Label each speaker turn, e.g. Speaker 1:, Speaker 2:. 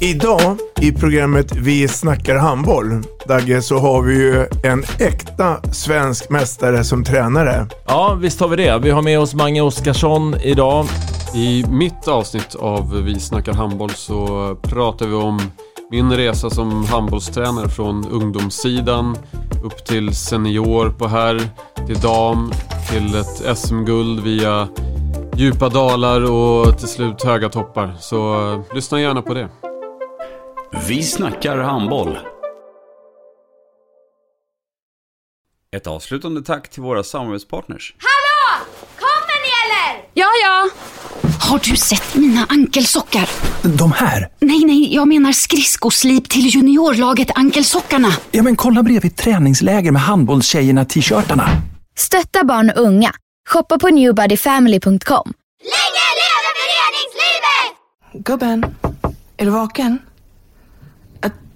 Speaker 1: Idag i programmet Vi snackar handboll, Dagge, så har vi ju en äkta svensk mästare som tränare.
Speaker 2: Ja, visst har vi det. Vi har med oss Mange Oskarsson idag.
Speaker 3: I mitt avsnitt av Vi snackar handboll så pratar vi om min resa som handbollstränare från ungdomssidan upp till senior på herr, till dam, till ett SM-guld via djupa dalar och till slut höga toppar. Så eh, lyssna gärna på det.
Speaker 4: Vi snackar handboll. Ett avslutande tack till våra samarbetspartners.
Speaker 5: Hallå! Kommer ni eller?
Speaker 6: Ja, ja. Har du sett mina ankelsockar?
Speaker 7: De här?
Speaker 6: Nej, nej, jag menar skridskoslip till juniorlaget Ankelsockarna.
Speaker 7: Ja, men kolla bredvid träningsläger med handbollstjejerna-t-shirtarna.
Speaker 8: Stötta barn och unga. Shoppa på newbodyfamily.com.
Speaker 5: Länge leve föreningslivet!
Speaker 9: Gubben, är du vaken? Jag,